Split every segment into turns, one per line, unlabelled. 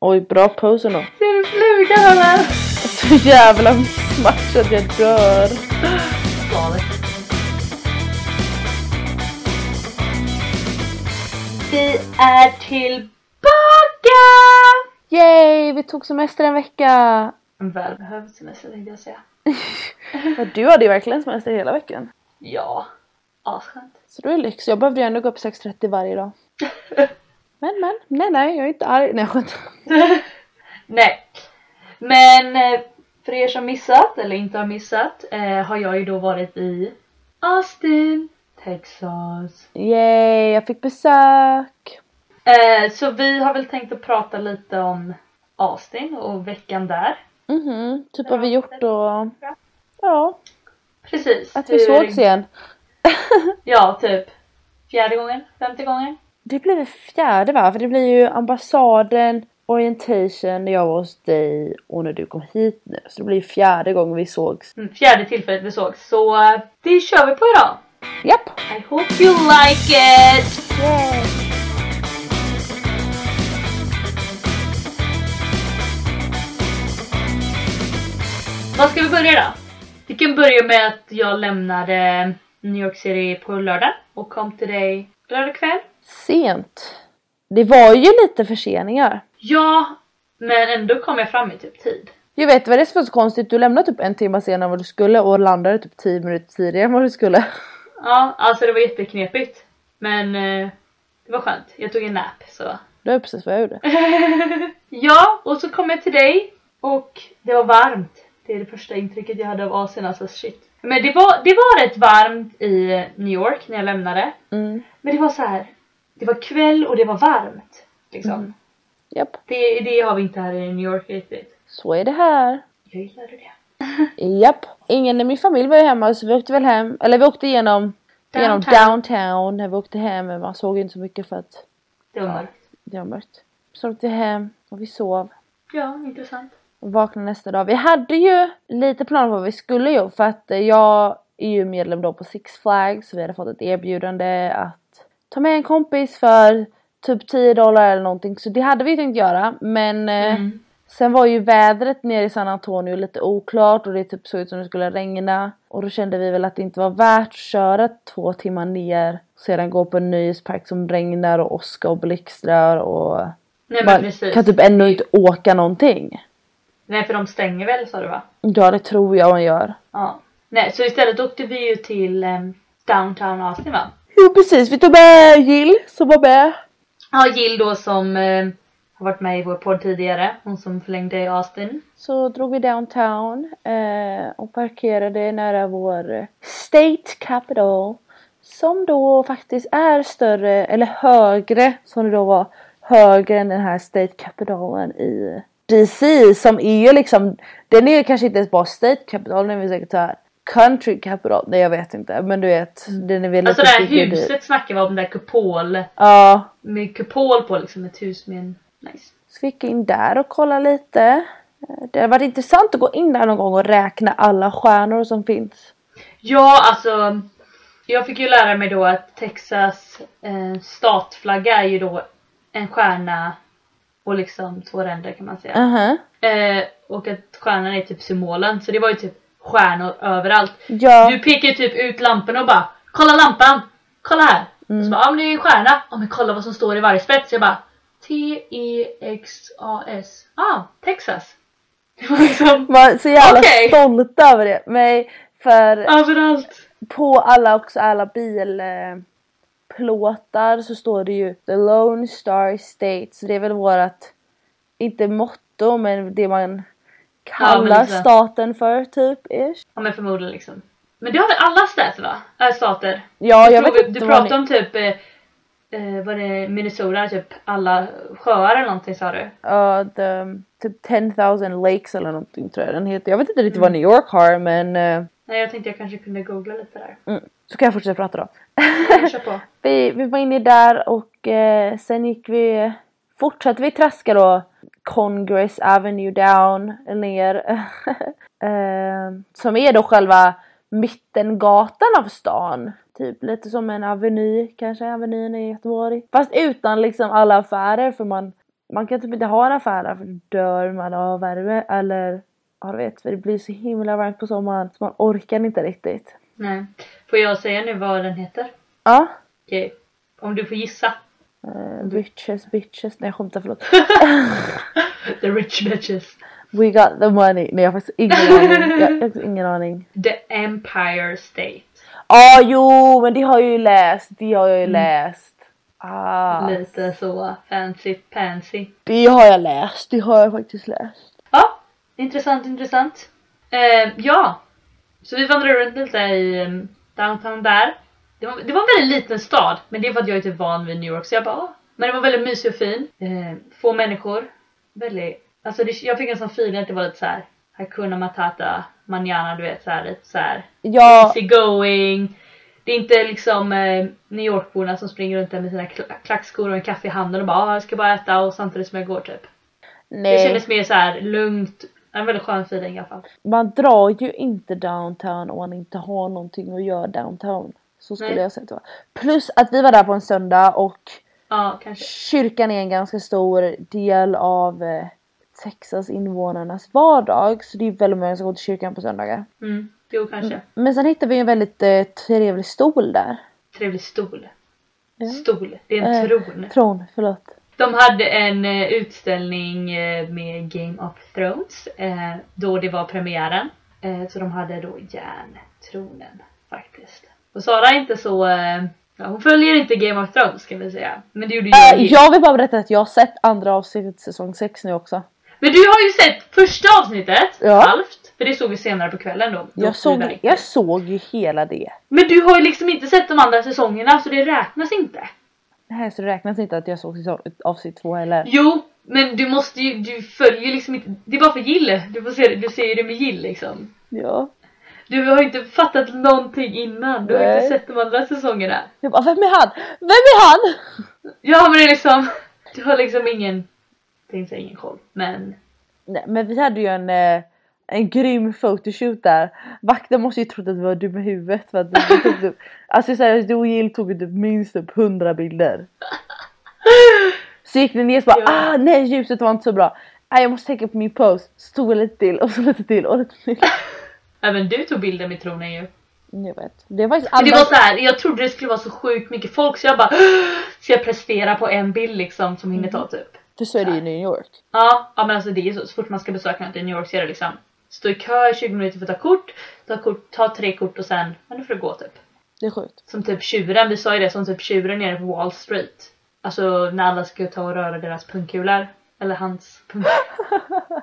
Oj, bra pose då.
Ser du flugan eller?
Så jävla match att jag dör.
Galet. Vi är tillbaka!
Yay, vi tog semester en vecka.
En välbehövd semester tänkte jag säga.
Ja, du hade ju verkligen semester hela veckan.
Ja, asskönt.
Så du är lyx. Jag behövde ju ändå gå upp 6.30 varje dag. Men men, nej nej, jag är inte arg. Nej jag skämtar.
Nej. Men eh, för er som missat eller inte har missat eh, har jag ju då varit i Austin, Texas.
Yay, jag fick besök.
Eh, så vi har väl tänkt att prata lite om Austin och veckan där.
Mhm, typ vad vi gjort och... Ja,
Precis.
att vi sågs igen.
Ja, typ. Fjärde gången, femte gången.
Det blir det fjärde va? För det blir ju ambassaden, orientation när jag var hos dig och när du kom hit nu. Så det blir ju fjärde gången vi sågs.
Mm, Fjärde tillfället vi sågs. Så eh, det kör vi på idag.
Japp!
I hope you like it! Vad ska vi börja då? Vi kan börja med att jag lämnade New York City på lördag och kom till dig lördag kväll.
Sent. Det var ju lite förseningar.
Ja, men ändå kom jag fram i typ tid.
Jag vet vad det är som var så konstigt. Du lämnade typ en timme senare än vad du skulle och landade typ 10 minuter tidigare än vad du skulle.
Ja, alltså det var jätteknepigt. Men eh, det var skönt. Jag tog en nap så.
Det var precis vad jag gjorde.
Ja, och så kom jag till dig och det var varmt. Det är det första intrycket jag hade av Asien, alltså shit. Men det var, det var rätt varmt i New York när jag lämnade.
Mm.
Men det var så här. det var kväll och det var varmt. Liksom.
Mm. Japp,
Det, det har vi inte här i New York riktigt.
så är det här.
Jag gillar det.
Japp. Ingen i min familj var ju hemma så vi åkte väl hem, eller vi åkte igenom downtown,
Downtown.
genom downtown när vi åkte hem men man såg ju inte så mycket för att
Det var mörkt.
det var mörkt. Så åkte vi hem och vi sov.
Ja, intressant.
Och vaknade nästa dag. Vi hade ju lite planer på vad vi skulle göra för att eh, jag är ju medlem då på Six Flags så vi hade fått ett erbjudande att ta med en kompis för typ 10 dollar eller någonting så det hade vi tänkt göra men eh,
Mm.
Sen var ju vädret nere i San Antonio lite oklart och det typ såg ut som det skulle regna. Och då kände vi väl att det inte var värt att köra två timmar ner. Sedan gå på en nöjespark som regnar och åska och blixtrar och...
Nej men
Man
precis.
kan typ ändå inte åka någonting.
Nej för de stänger väl sa du va?
Ja det tror jag man gör.
Ja. Nej så istället åkte vi ju till ehm, downtown Austin va?
Jo precis, vi tog med Jill som var med.
Ja Jill då som ehm, har varit med i vår podd tidigare. Hon som förlängde i Austin.
Så drog vi downtown eh, och parkerade nära vår State Capital. Som då faktiskt är större, eller högre, som det då var, högre än den här State Capitalen i DC. Som är ju liksom, den är ju kanske inte ens bara State Capital, den är väl säkert såhär Country Capital, nej jag vet inte. Men du vet, den är väl
Alltså det
lite
här
bigger dit.
huset snackar vi om, den där kupol.
Ja.
Med kupol på liksom, ett hus med en... Nice.
Så vi gick in där och kollade lite. Eh, Det har varit intressant att gå in där någon gång och räkna alla stjärnor som finns.
Ja, alltså. Jag fick ju lära mig då att Texas eh, statflagga är ju då en stjärna och liksom två ränder kan man säga.
uh
Eh, och att stjärnan är typ symbolen, så det var ju typ stjärnor överallt.
Ja,
Du pekar ju typ ut lamporna och bara “Kolla lampan! Kolla här!”
Mm.
Och så bara “Ja men det är ju en stjärna!” “Ja men kolla vad som står i varje spets!” Jag bara E “T-E-X-A-S” “Ah, Texas!” Det var liksom
var så jävla
Okej.
stolta över det. Men för
överallt.
på alla också alla bilplåtar så står det ju The Lone Star State. Så det är väl vårat, inte motto men det man kallar
lite.
staten för typ ish.
Ja men förmodligen liksom. Men det har väl alla städer va? Äh, stater?
Ja, jag
Tror
vet
vi-
inte
du
vad ni...
pratade om typ, eh, eh, var det Minnesota, typ alla sjöar eller någonting sa du?
Ja, the, typ 10,000 lakes eller någonting tror jag den heter. Jag vet inte riktigt vad New York har men eh,
Nej jag tänkte jag kanske kunde googla lite där.
mm. så kan jag fortsätta prata då.
Kör på.
Vi, vi var inne där och eh, sen gick vi, fortsatte vi traska då Congress Avenue down, ner. eh, som är då själva mittengatan av stan. Typ lite som en aveny kanske, avenyn i Göteborg. Fast utan liksom alla affärer för man man kan typ inte ha en affär där för då dör man av värme eller ja du vet för det blir så himla varmt på sommaren så man orkar inte riktigt.
Nej. Får jag säga nu vad den heter?
Ja.
Okej. Om du får gissa.
Eh, bitches, bitches. Nej jag skämtar förlåt.
The rich bitches.
We got the money. Nej jag har faktiskt ingen aning. Jag, jag har faktiskt ingen aning.
The Empire State.
Ja jo men det har jag ju läst. Det har jag ju läst. Ah,
Mm. Lite så fancy pansy.
det har jag läst. Det har jag faktiskt läst.
Ja, intressant, intressant. Eh, ja, så vi vandrade runt lite i eh, downtown där. Det var, det var en väldigt liten stad, men det är för att jag är typ van vid New York så jag bara ah. Men det var väldigt mysig och fin. Eh, få människor. Väldigt, alltså det, jag fick en sån feeling att det var lite såhär Hakuna Matata, manana du vet såhär lite såhär
Ja,
easy going. Det är inte liksom eh, New Yorkborna som springer runt där med sina kla- klackskor och en kaffe i handen och bara ah, jag ska bara äta och samtidigt som jag går typ. Det
nej.
kändes mer så här lugnt. En väldigt skön feeling i alla fall.
Man drar ju inte downtown om man inte har någonting att göra downtown. Så skulle
Nej.
jag säga att det var. Plus att vi var där på en söndag och
Ja, kanske.
kyrkan är en ganska stor del av eh, Texas invånarnas vardag. Så det är väldigt många som går till kyrkan på söndagar.
Mm. Jo, kanske.
Men sen hittade vi en väldigt eh, trevlig stol där.
Trevlig stol.
Ja.
Stol. Det är en
Eh,
tron.
Tron, förlåt.
De hade en eh, utställning eh, med Game of Thrones eh, då det var premiären. Eh, så de hade då järntronen faktiskt. Och Sara är inte så... Eh, ja, hon följer inte Game of Thrones kan vi säga. Men det gjorde ju
Eh,
jag.
jag vill bara berätta att jag har sett andra avsnittet säsong 6 nu också.
Men du har ju sett första avsnittet,
Ja.
halvt. För det såg vi senare på kvällen då. Då
Jag såg,
fyrverkade.
jag såg ju hela det.
Men du har ju liksom inte sett de andra säsongerna så det räknas inte.
Nej, så det räknas inte att jag såg säsong- avsnitt 2 heller.
Jo, men du måste ju, du följer ju liksom inte, det är bara för gill. Du får se det, du ser ju det med gill liksom.
Ja.
Du har ju inte fattat någonting innan, du har ju inte
Nej.
sett de andra säsongerna.
Jag bara, vem är han? Vem är han?
Ja men det är liksom, du har liksom ingen, tänkte säga ingen koll, men
Nej, men vi hade ju en, eh, en grym photoshoot där. Vakten måste ju trott att vi var dum i huvudet. För att vi tog typ, alltså seriöst, du och Jill tog ju typ minst upp 100 bilder. Så gick ni ner och bara
Ja.
ah nej ljuset var inte så bra. Nej jag måste tänka på min pose. Stod lite till och så lite till och lite till.
även du tog bilder med tronen ju.
Jag vet. Det var faktiskt
Men det
andra...
var så här, jag trodde det skulle vara så sjukt mycket folk så jag bara Ska jag prestera på en bild liksom som hinner ta typ
För så är det ju i New York.
Ja, ja men alltså det är så, så fort man ska besöka något i New York så är det liksom Stå i kö i 20 minuter för att ta kort, ta, kort, ta tre kort och sen, men nu får du gå typ.
Det är sjukt.
Som typ tjuren, vi sa ju det, som typ tjuren nere på Wall Street. Alltså när alla ska ta och röra deras pungkulor. Eller hans pungkulor.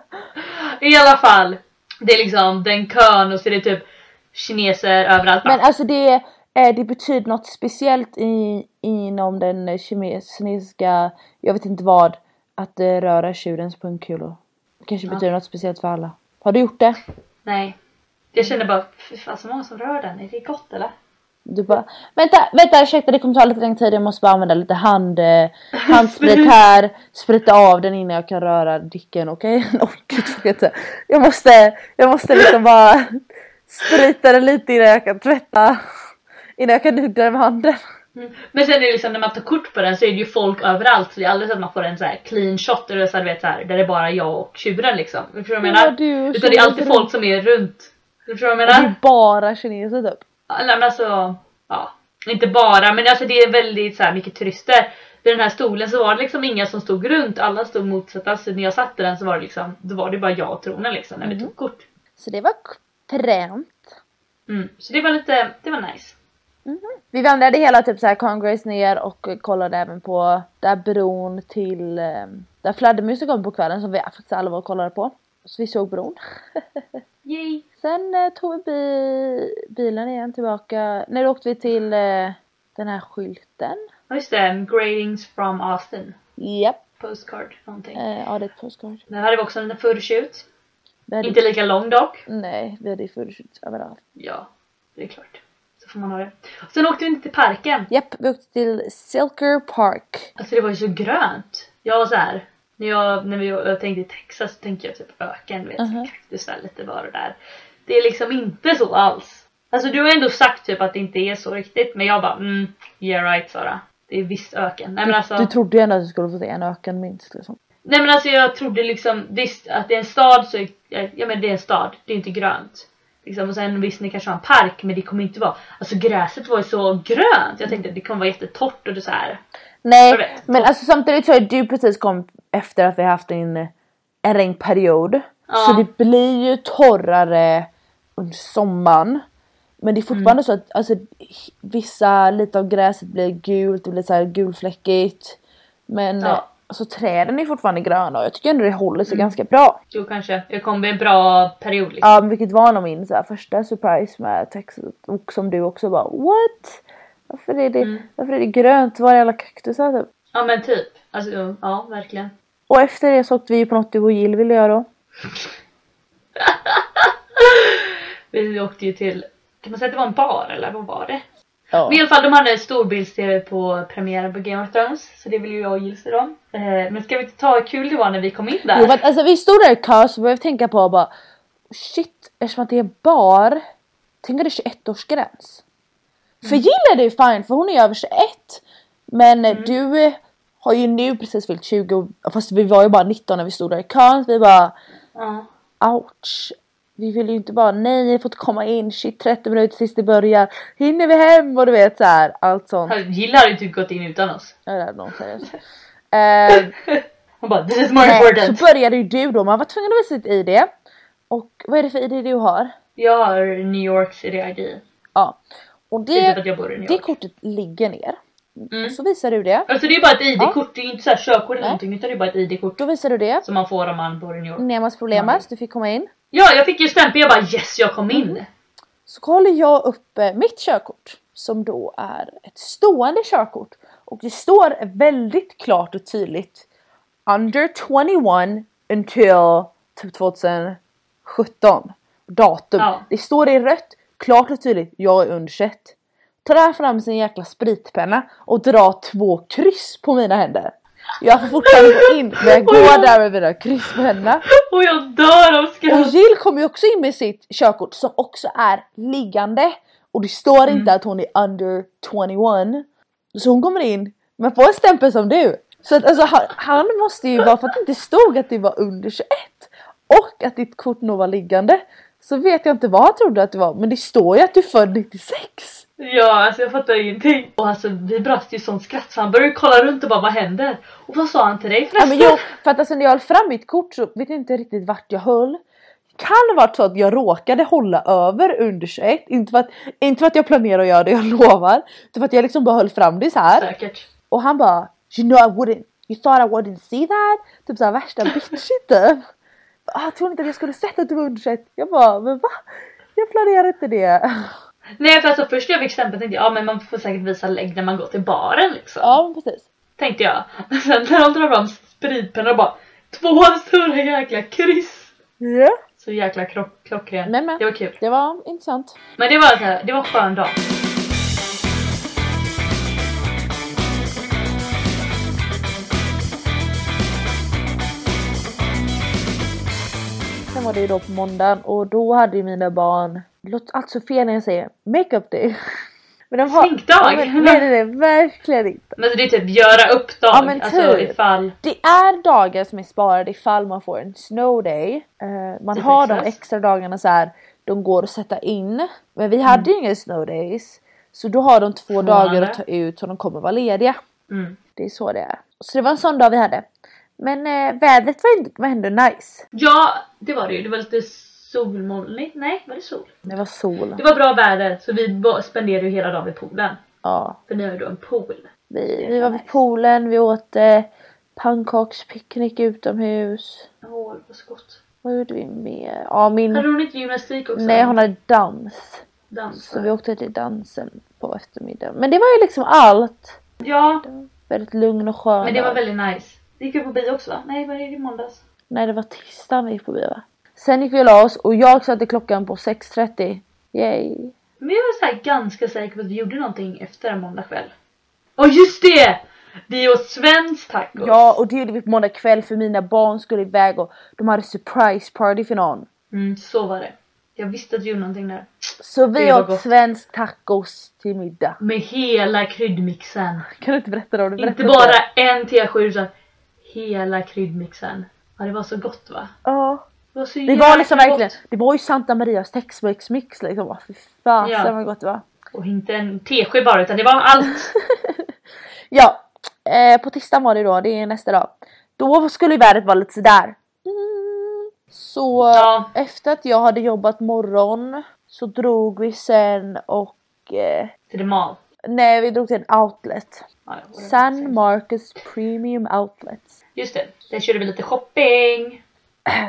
I alla fall. Det är liksom den kön och så är det typ kineser överallt. Ah,
Men alltså det, eh, det betyder något speciellt i, inom den eh, kines- kinesiska, jag vet inte vad, att eh, röra tjurens pungkulor. Det kanske betyder något speciellt för alla. Har du gjort det?
Nej. Jag känner bara, fy fan så många som rör den, är det gott eller?
Du bara, vänta, vänta, ursäkta det kommer ta lite längre tid, jag måste bara använda lite hand, eh, handsprit här, sprita av den innan jag kan röra dicken, okej? Okay? Gud, jag, vet inte. jag måste, jag måste liksom bara sprita den lite innan jag kan tvätta, innan jag kan nudda den med handen.
Mm. Men sen är det liksom när man tar kort på den så är det ju folk överallt så det är aldrig så att man får en så här clean shot eller så här, du vet, så här, där det är bara jag och tjuren liksom. Förstår du vad jag
Ja,
menar?
du och
Utan det är
tjuren
alltid
runt.
folk som är runt. Förstår du vad
Det
jag
är
menar?
bara kineser typ.
Eller men alltså, ja. Inte bara men alltså det är väldigt så här mycket turister. Vid den här stolen så var det liksom inga som stod runt, alla stod motsatta. Så när jag satt i den så var det liksom, då var det bara jag och tronen liksom när vi tog kort.
Så det var k- fränt.
Mm. Så det var lite, det var nice.
Vi vandrade hela typ så här Congress ner och eh, kollade även på där bron till eh, där fladdermusen kom på kvällen som vi faktiskt alla var och kollade på. Så vi såg bron.
Yay!
Sen eh, tog vi bi- bilen igen tillbaka. Nej då åkte vi till eh, den här skylten.
Ja just det, gradings from Austin.
Japp.
Postcard någonting.
Eh, ja det är ett postkort.
Där hade vi också en förtjut.
Vi hade-
Inte lika lång dock.
Nej vi hade ju förutskjut överallt.
Ja, det är klart. Så får man ha det. Sen åkte vi inte till parken.
Japp vi åkte till Silker Park.
Alltså det var ju så grönt. Jag var så här. När jag, när vi- jag tänkte i Texas så tänkte jag typ öken, vet
Mhm.
kaktusar lite var och där. Det är liksom inte så alls. Alltså du har ändå sagt typ att det inte är så riktigt men jag bara mm, yeah right Sara. Det är visst öken. Nej men alltså.
Du trodde ju ändå att du skulle få se en öken minst liksom.
Nej men alltså jag trodde liksom, visst att det är en stad så, jag, jag menar det är en stad, det är inte grönt. Liksom, och sen visst ni kanske har en park men det kommer inte vara, alltså gräset var ju så grönt. Jag tänkte att det kommer vara jättetorrt och det så här. Jag
Nej,
vet.
men alltså samtidigt så är du precis kom efter att vi haft en, en regnperiod.
Ja.
Så det blir ju torrare under sommaren. Men det är fortfarande
Mm.
så att alltså, h- vissa, lite av gräset blir gult, det blir så här gulfläckigt. Men
Ja. Mm.
eh, alltså, träden är fortfarande gröna och jag tycker ändå det håller sig ganska bra.
Jo kanske, jag kommer bli en bra period liksom.
Ja, men vilket var nog min så här, första surprise med Texas och som du också bara what? Varför är det,
Mm.
varför är det grönt? Var är alla kaktusar typ?
Ja men typ. Alltså ja, verkligen.
Och efter det så åkte vi ju på något du och Jill ville göra då.
Vi åkte ju till, kan man säga att det var en bar eller vad var det?
Ja.
Men i alla fall, de hade storbilds-tv på premiären på Game of Thrones. Så det vill ju jag och Jill se då. Eh, men ska vi inte ta hur kul det var när vi kom in där?
Jo, men alltså, vi stod där i kaos och började tänka på bara shit, eftersom att det är bar, tänk om det är 21-årsgräns. För Jill är det ju fine för hon är ju över 21. Men eh, du eh, har ju nu precis fyllt 20, fast vi var ju bara 19 när vi stod där i kön. så Vi bara
Ja.
ouch. Vi vill ju inte bara nej, ni får inte komma in, shit 30 minuter tills det börjar. Hinner vi hem? Och du vet så här, allt sånt.
Jill hade ju typ gått in utan oss.
Ja, det hade någon seriöst. Eh,
Hon bara this is more
Nej,
important.
så började ju du då, man var tvungen att visa sitt ID. Och vad är det för ID du har?
Jag har New Yorks ID.
Ja. Och
Det är typ
det,
att jag bor i New
det
York.
kortet ligger ner.
Mm.
Och så visar du det.
Alltså det är bara ett ID-kort, det är ju inte såhär körkort eller
Nej.
någonting utan det är bara ett ID-kort
Då visar du det.
som man får om man bor i New York.
Nemas Problemas, du fick komma in.
Ja, jag fick ju stämpel, jag bara yes jag kom in!
Mm. Så håller jag uppe mitt körkort. Som då är ett stående körkort. Och det står väldigt klart och tydligt. Under 21 until typ 2017. Datum.
Ja.
Det står i rött, klart och tydligt. Jag är under 21. Tar fram sin jäkla spritpenna och drar två kryss på mina händer. Jag får fortfarande gå in men jag går där med mina kryss på händerna.
Och jag dör av
Och
skratt!
Jill kom ju också in med sitt körkort som också är liggande. Och det står inte att hon är under 21. Så hon kommer in men får en stämpel som du. Så att alltså han, han måste ju bara för att det inte stod att det var under 21 och att ditt kort nog var liggande. Så vet jag inte vad han trodde att det var men det står ju att du är född 96.
Ja, alltså jag fattar ingenting. Och alltså vi brast ju sånt skratt så han började kolla runt och bara vad händer? Och vad sa han till dig
Ja,
förresten?
men jag, för att alltså när jag höll fram mitt kort så vet jag inte riktigt vart jag höll. Kan vara så att jag råkade hålla över under 21. Inte för att, inte för att jag planerar att göra det, jag lovar. Utan för att jag liksom bara höll fram det så här.
Säkert.
Och han bara You know I wouldn't. You thought I wouldn't see that. Typ såhär värsta bitchigt typ. Ah, Jag trodde inte att jag skulle sett att du var under 21. Jag bara men va? Jag planerade inte det.
Nej för alltså först när jag fick stämpeln tänkte jag ja men man får säkert visa lägg när man går till baren liksom.
Ja men precis.
Tänkte jag. Men sen när de drar fram spritpennan och bara två stora jäkla kryss.
Ja.
Så jäkla krock, klockren.
Men, men.
Det var kul.
Det var intressant.
Men det var så här, det var en skön dag.
Sen var det ju då på måndagen och då hade ju mina barn, det låter alltså fel när jag säger makeup day. Men de har,
Sminkdag!
Ja, men, nej nej nej verkligen inte.
Men alltså, det är typ göra upp dag.
Ja, men
alltså
typ.
ifall.
Det är dagar som är sparade ifall man får en snow day. Eh, man
Typ
har de
extras.
extra dagarna så här, de går att sätta in. Men vi hade ju inga snow days. Så då har de två dagar att ta ut så de kommer vara lediga.
Mm.
Det är så det är. Så det var en sån dag vi hade. Men eh, vädret var, inte, var ändå nice.
Ja det var det ju. Det var lite solmolnigt. Nej var det sol?
Det var sol.
Det var bra väder så vi ba- spenderade ju hela dagen vid poolen.
Ja.
För ni har ju då en pool.
Vi, vi var vid poolen, vi åt eh, pannkakspicknick utomhus.
Åh det var så gott.
Vad gjorde vi mer? Ja, min...
Hade hon inte gymnastik också?
Mm. Nej, hon hade dans. Så
dansar.
vi åkte till dansen på eftermiddagen. Men det var ju liksom allt.
Ja
Väldigt lugn och skön.
men det var
dag.
väldigt nice. Det gick ju på bio också va? Nej var det i måndags?
Nej, det var tisdagen vi gick på bio va? Sen gick vi och la oss och jag satte klockan på 6.30. Yay.
Men jag var så här ganska säker på att vi gjorde någonting efter en måndag kväll. Åh just det! Vi åt svensk tacos.
Ja, och det gjorde vi på måndag kväll för mina barn skulle iväg och de hade surprise party för någon.
Mm, så var det. Jag visste att du gjorde någonting där.
Så vi
Det var
åt
gott.
svensk tacos till middag.
Med hela kryddmixen.
Kan du inte berätta det? om du
Inte
berättar
bara en tesked utan hela kryddmixen. Ja, det var så gott va?
Ja.
Det var, så
Det
jäkla
var liksom
gott.
verkligen, det var ju Santa Marias Tex-Mex-mix liksom. Åh, Fy fasen
Ja.
vad gott det var.
Och inte en tesked bara utan det var allt.
Ja, eh, på tisdagen var det då, det är nästa dag. Då skulle ju vädret vara lite sådär. Mm. Så
Ja.
efter att jag hade jobbat morgon så drog vi sen och eh,
Till det mal.
nej vi drog till en outlet.
Ja, det var det.
San Marcus Premium Outlets.
Just det, där körde vi lite shopping.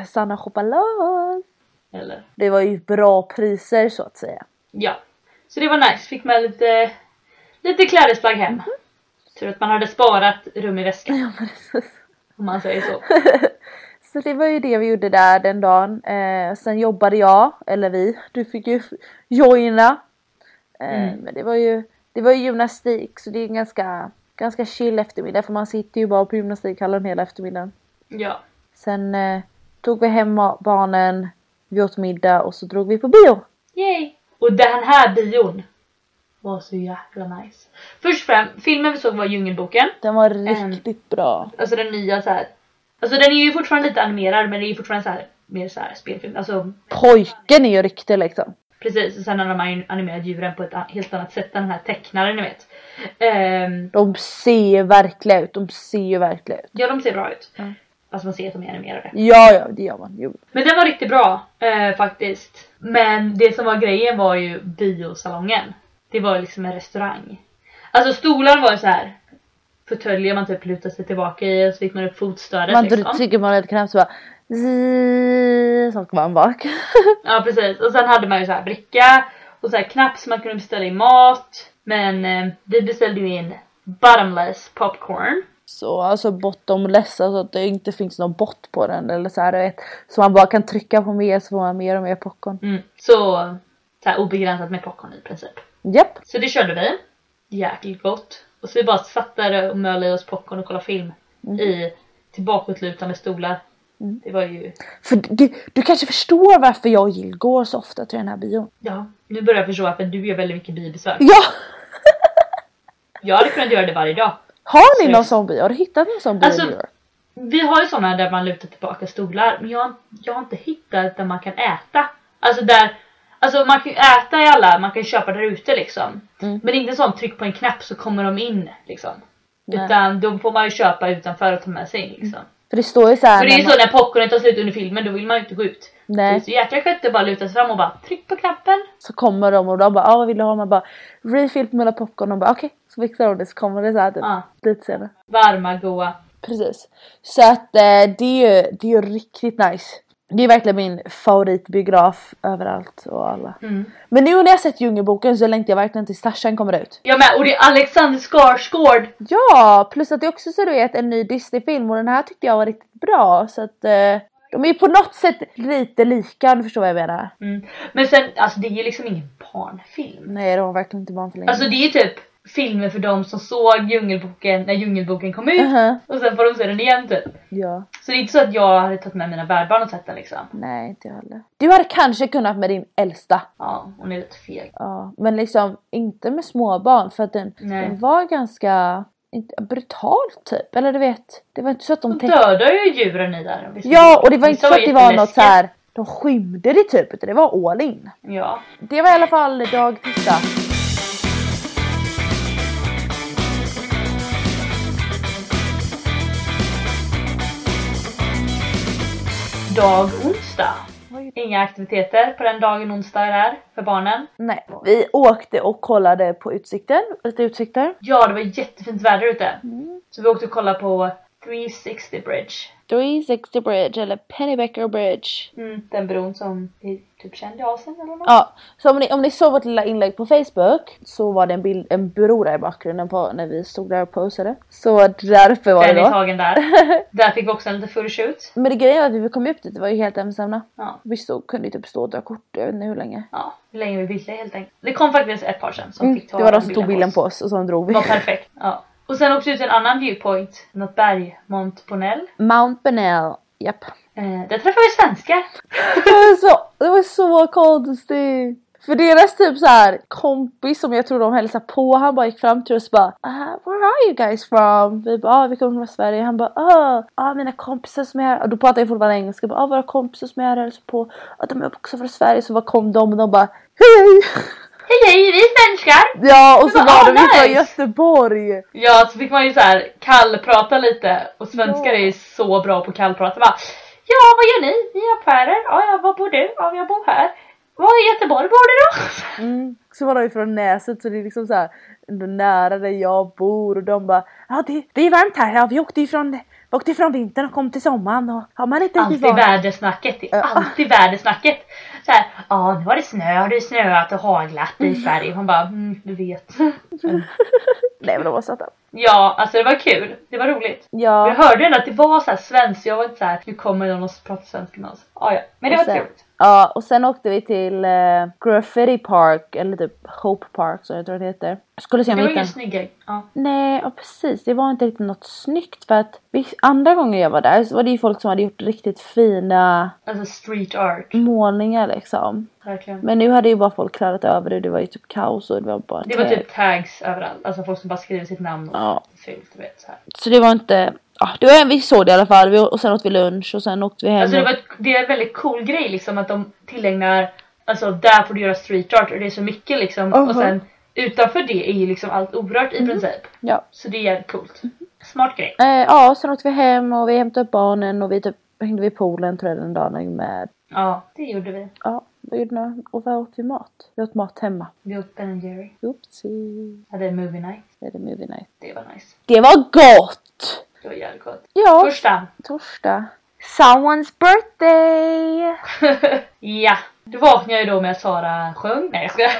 Sanna shoppar loss.
Eller
Det var ju bra priser så att säga.
ja. Så det var nice, fick med lite, lite klädesplagg hem. Tur att man hade sparat rum i väskan
Ja, precis.
om man säger så.
Så det var ju det vi gjorde där den dagen. Eh, sen jobbade jag, eller vi, du fick ju joina. Eh,
Mm.
Men det var ju, det var ju gymnastik så det är en ganska, ganska chill eftermiddag för man sitter ju bara på gymnastikhallen hela eftermiddagen.
Ja,
Sen eh, tog vi hem barnen, vi åt middag och så drog vi på bio.
yay! Och den här bion var så jäkla nice. Först och främst, filmen vi såg var Djungelboken.
Den var riktigt bra.
Alltså den nya så här. Alltså den är ju fortfarande lite animerad men det är ju fortfarande så här mer så här spelfilm. Alltså
Pojken är ju riktig liksom.
precis, och sen har de an- animerat djuren på ett a- helt annat sätt än den här tecknaren ni vet. Ehm,
De ser ju verkliga ut, de ser ju verkliga ut.
ja de ser bra ut.
Mm.
Alltså man ser att de är animerade.
Ja, ja, det gör man. Jo.
Men den var riktigt bra eh, faktiskt. Men det som var grejen var ju biosalongen. Det var ju liksom en restaurang. Alltså stolarna var ju så här fåtöljer man typ lutar sig tillbaka i och så fick man upp fotstödet
Man
liksom.
liksom. trycker man ett knapp så bara zzz, så åker man bak.
Ja precis, och sen hade man ju så här bricka och så här knapp så man kunde beställa in mat. Men eh, vi beställde ju in bottomless popcorn.
Så alltså bottomless, alltså att det inte finns någon bott på den eller så här du vet. Så man bara kan trycka på mer så får man mer och mer popcorn.
Mm. Så, så här obegränsat med popcorn i princip.
Japp.
Så det körde vi. Jäkligt gott. Och så vi bara satt där och mölade i oss popcorn och kollade film i tillbakåtlutande stolar. Det var ju...
För du, du kanske förstår varför jag och Jill går så ofta till den här bion.
Ja, nu börjar jag förstå varför du gör väldigt mycket biobesök.
Ja!
Jag hade kunnat göra det varje dag.
Har ni
Så-
någon sån bio? Har du hittat någon sån bio?
Alltså-
i New York?
Vi har ju sådana där man lutar tillbaka stolar, men jag, jag har inte hittat där man kan äta. Alltså där, alltså man kan ju äta i alla, man kan ju köpa där ute liksom.
Mm.
Men inte sån tryck på en knapp så kommer de in liksom.
Nej. Mm.
Utan de får man ju köpa utanför och ta med sig in liksom.
För det står ju såhär...
För det är ju så när popcornen tar slut under filmen, då vill man ju inte gå ut. Så det är
Nej,
så jäkla skönt att bara luta sig fram och bara tryck på knappen.
så kommer de och de bara ah, vad vill du ha? Man bara refill på mina popcorn och bara okej. Så fixar de det så kommer det såhär typ
Ja,
lite senare.
varma, goa.
Precis. Så att eh, det är ju, det är ju riktigt nice. Det är verkligen min favoritbiograf överallt och alla.
Mm.
Men nu när jag sett Djungelboken så längtar jag verkligen tills Tarzan kommer ut.
Jag med, och det är Alexander Skarsgård!
Ja, plus att det också så du vet en ny Disney-film och den här tyckte jag var riktigt bra så att eh, de är ju på något sätt lite lika om du förstår vad jag menar.
Mm. Men sen, alltså det är ju liksom ingen barnfilm.
Nej de var verkligen inte barn för länge.
Alltså det är ju typ filmer för de som såg Djungelboken när Djungelboken kom ut
Mhm.
och sen får de se den igen typ.
Ja,
Så det är inte så att jag hade tagit med mina värdbarn och sett den liksom.
nej inte jag heller. Du hade kanske kunnat med din äldsta.
Ja, hon är lite feg.
Ja, men liksom inte med småbarn för att den,
Nej.
den var ganska inte, brutal typ. Eller du vet, det var inte så att de
De
tänkte...
dödar ju djuren i där. Visst?
Ja, och det var inte
Vissa
så att det var något så
jätteläskiga.
här. de skymde det typ utan det var all in.
Ja.
Det var i alla fall dag tisdag.
Dag onsdag.
Vad gjorde-
Inga aktiviteter på den dagen onsdag är där för barnen.
Nej, vi åkte och kollade på utsikten, lite utsikter.
Ja, det var jättefint väder ute.
Mm.
Så vi åkte och kollade på 360 Bridge.
360 Bridge eller Pennybacker Bridge.
Mm, den bron som vi typ kände i Asien eller något.
Ja, så om ni, om ni såg vårt lilla inlägg på Facebook så var det en, bild, en bro där i bakgrunden på, när vi stod där och posade. Så därför var det
Den
då.
är tagen där. Där fick vi också en liten photoshoot.
Men det grejen var att vi kom upp dit, det var ju helt ensamma.
Ja.
Vi stod, kunde ju typ stå och ta kort, jag vet inte hur länge. Mm,
Ja, hur länge vi ville helt enkelt. Det kom faktiskt ett par sen som fick ta
det var de
den
som tog bilden på oss och så drog
Det
vi.
var perfekt. Ja. Och sen åkte vi till en annan viewpoint, något berg, Mont Ponell.
Mount Benel, japp.
Eh, där träffade vi svenskar.
Det var så, det var så konstigt! För deras typ så här kompis som jag tror de hälsar på, han bara gick fram till oss och bara ah “Where are you guys from?” Vi bara ah, “Vi kommer från Sverige” han bara “Ah, ah mina kompisar som är här” och då pratade jag fortfarande engelska, bara, ah, “Våra kompisar som är här hälsar på, ah, de är också från Sverige” så var kom de och de bara “Hej!”
Hej hej, vi är svenskar!
Ja och så
Men
var
vad-
de
ah,
ju från
nice.
Göteborg!
Ja, så fick man ju så här kallprata lite och svenskar
Ja.
är så bra på kallprata. Bara, ja, vad gör ni? Ni är affärer. Ja, ja, var bor du? Ja, jag bor här. Var i Göteborg bor du då?
Mm. Så var de ju från Näset så det är liksom så här ändå nära där jag bor och de bara “Ja det, det är varmt här, ja, vi åkte ifrån, vi åkte ifrån vintern och kom till sommaren och har man inte
Alltid vädersnacket. Det är
Ja.
alltid vädersnacket. Så här, ja, nu har det snö, har det snöat och haglat i Sverige. Man bara, mm, du vet.
Nej men de var söta.
Ja, alltså det var kul. Det var roligt. Jag
Ja.
hörde ändå att det var så här svenskt. Jag var inte så här, nu kommer någon och pratar svenska med oss. Ja, ja. Men det
Och
var
sen-
kul.
ja och sen åkte vi till eh, Graffiti Park eller typ Hope Park som jag tror det heter. Jag skulle se
Det
om
var
jag
ju
hittade.
snygga. Ja.
Nej ja, precis det var inte riktigt något snyggt för att vi, andra gånger jag var där så var det ju folk som hade gjort riktigt fina
Alltså street art.
Mm. målningar liksom.
Verkligen.
Men nu hade ju bara folk klarat över det det var ju typ kaos och det var bara
Det var
träd.
typ tags överallt, alltså folk som bara skriver sitt namn och
Ja.
fyllt, du vet så här.
Så det var inte, ja det var, vi såg det i alla fall vi, och sen åt vi lunch och sen åkte vi hem.
Alltså det,
och-
var ett, det är en väldigt cool grej liksom att de tillägnar, alltså där får du göra street art och det är så mycket liksom
Aha. Mm.
och sen utanför det är ju liksom allt orört i princip.
Ja.
Så det är jävligt coolt.
Mm.
Smart grej.
Eh, ja, sen åkte vi hem och vi hämtade upp barnen och vi typ hängde vid poolen tror jag den dagen jag hängde med.
Ja, det gjorde vi.
Ja, vi gjorde några... Och vad åt vi mat? Vi åt mat hemma.
Vi åt Ben Jerry,
Oopsie.
hade en movie night.
Det är det movie night.
Det var nice.
Det var gott!
Det var jävligt gott.
Ja,
Första.
torsdag. Someone's birthday!
ja. Då vaknade jag ju då med att Sara sjöng. Nej jag skojar.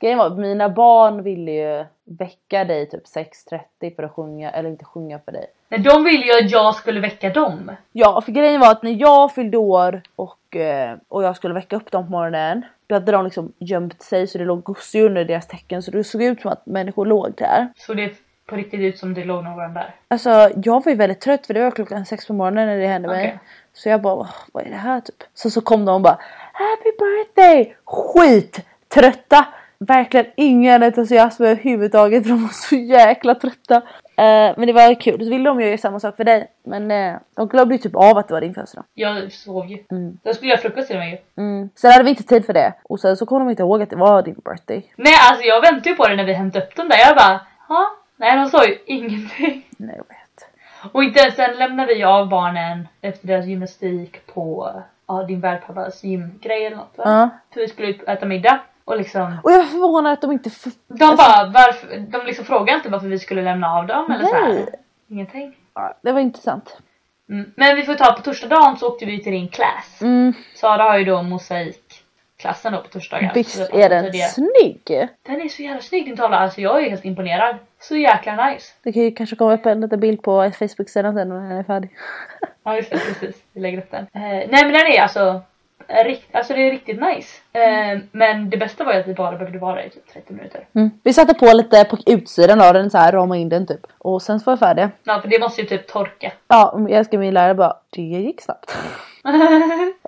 Grejen var, mina barn ville ju väcka dig typ 6.30 för att sjunga, eller inte sjunga för dig.
Men de ville ju att jag skulle väcka dem.
Ja, för grejen var att när jag fyllde år och, eh, och jag skulle väcka upp dem på morgonen då hade de liksom gömt sig så det låg gosedjur under deras tecken så det såg ut som att människor låg där.
Såg det på riktigt ut som det låg någon där?
Alltså jag var ju väldigt trött för det var klockan sex på morgonen när det hände mig.
Okej.
Så jag bara "Åh, vad är det här typ? Så så kom de och bara Happy birthday! Skit! Trötta! Verkligen ingen entusiasm överhuvudtaget för de var så jäkla trötta. Eh, men det var kul. Så ville de ju göra samma sak för dig. Men eh, de glömde ju typ av att det var din födelsedag.
Jag sov ju.
Mm.
Då skulle jag frukost till mig ju.
Mm. Sen hade vi inte tid för det. Och sen så kom de inte ihåg att det var din birthday.
Nej alltså jag väntade ju på det när vi hämtade upp dem där. Jag bara, ja. Nej de sa ju ingenting.
Nej jag vet.
Och inte ens sen lämnade vi av barnen efter deras gymnastik på ja, din värdpappas gymgrej eller något va?
Ja.
För vi skulle ut och äta middag. Och liksom,
Och jag var förvånad att de inte... f-
de bara, varför, de liksom frågade inte varför vi skulle lämna av dem eller så
Nej.
här. Ingenting.
Ja, det var intressant.
Mm. Men vi får ta på torsdagen så åkte vi till din klass.
Mm.
Sara har ju då mosaikklassen då på torsdagar. Så
Visst
vi
är
pratade om
den snygg?
Den är så jävla snygg din tavla, alltså jag är helt imponerad. Så jäkla nice.
Det kan ju kanske komma upp en liten bild på Facebook-sidan sen när den är färdig.
Ja just det, precis. Vi lägger upp den. Eh, nej men den är alltså, eh, rikt, alltså det är riktigt nice. Eh, men det bästa var ju att vi bara behövde vara där i typ 30 minuter.
Mm. Vi satte på lite på utsidan av den så här, ramade in den typ. Och sen så var jag färdig.
Ja för det måste ju typ torka.
Ja, jag ska min lärare bara, det gick snabbt.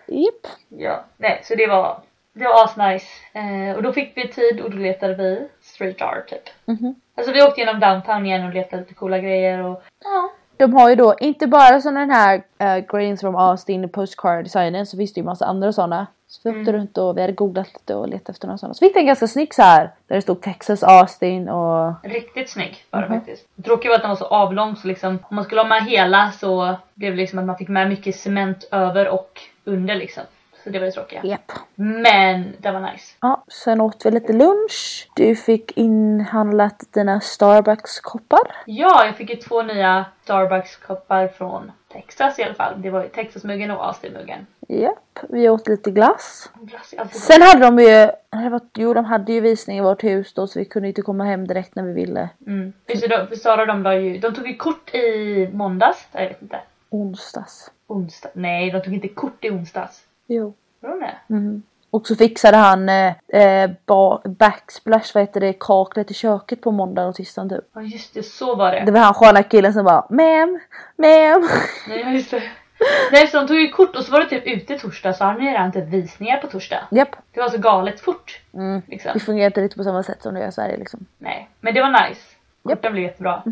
Japp.
ja. Nej så det var, det var asnice. Eh, och då fick vi tid och då letade vi street art typ.
Mhm.
Alltså vi åkte genom downtown igen och letade lite coola grejer och ja.
De har ju då inte bara som den här äh, Grains from Austin postcard designen så finns det ju massa andra sådana. Så vi åkte runt och vi hade googlat lite och letat efter några sådana. Så fick jag en ganska snygg så här där det stod Texas Austin och
Riktigt snygg var den faktiskt. Det tråkiga var att den var så avlång så liksom om man skulle ha med hela så blev det liksom att man fick med mycket cement över och under liksom. Så det var det tråkiga.
Japp.
Men den var nice.
Ja, sen åt vi lite lunch. Du fick inhandlat dina Starbucks-koppar.
Ja, jag fick ju två nya Starbucks-koppar från Texas i alla fall. Det var ju Texas-muggen och Austin-muggen.
Japp, vi åt lite glass.
Glass är alltid gott.
Sen hade de ju, nej, det var- jo de hade ju visning i vårt hus då så vi kunde inte komma hem direkt när vi ville.
Mm. Visst, de- för Sara och de la ju, de tog ju kort i måndags. Nej, Jag vet inte.
Onsdags.
Onsdag. Nej, de tog inte kort i onsdags.
Jo.
Gjorde de det?
Mm. Och så fixade han eh, eh, ba- backsplash, vad heter det, kaklet i köket på måndag och tisdagen typ.
Ja, just det. Så var det.
Det var han sköna killen som bara ma'am, ma'am.
Nej, just det. Nej, så de tog ju kort och så var det typ ute torsdag så har ni redan typ visningar på torsdag.
Japp.
Det var så galet fort.
Mm.
Liksom.
Det fungerar inte riktigt på samma sätt som det gör i Sverige liksom.
Nej, men det var nice. Korten blev jättebra.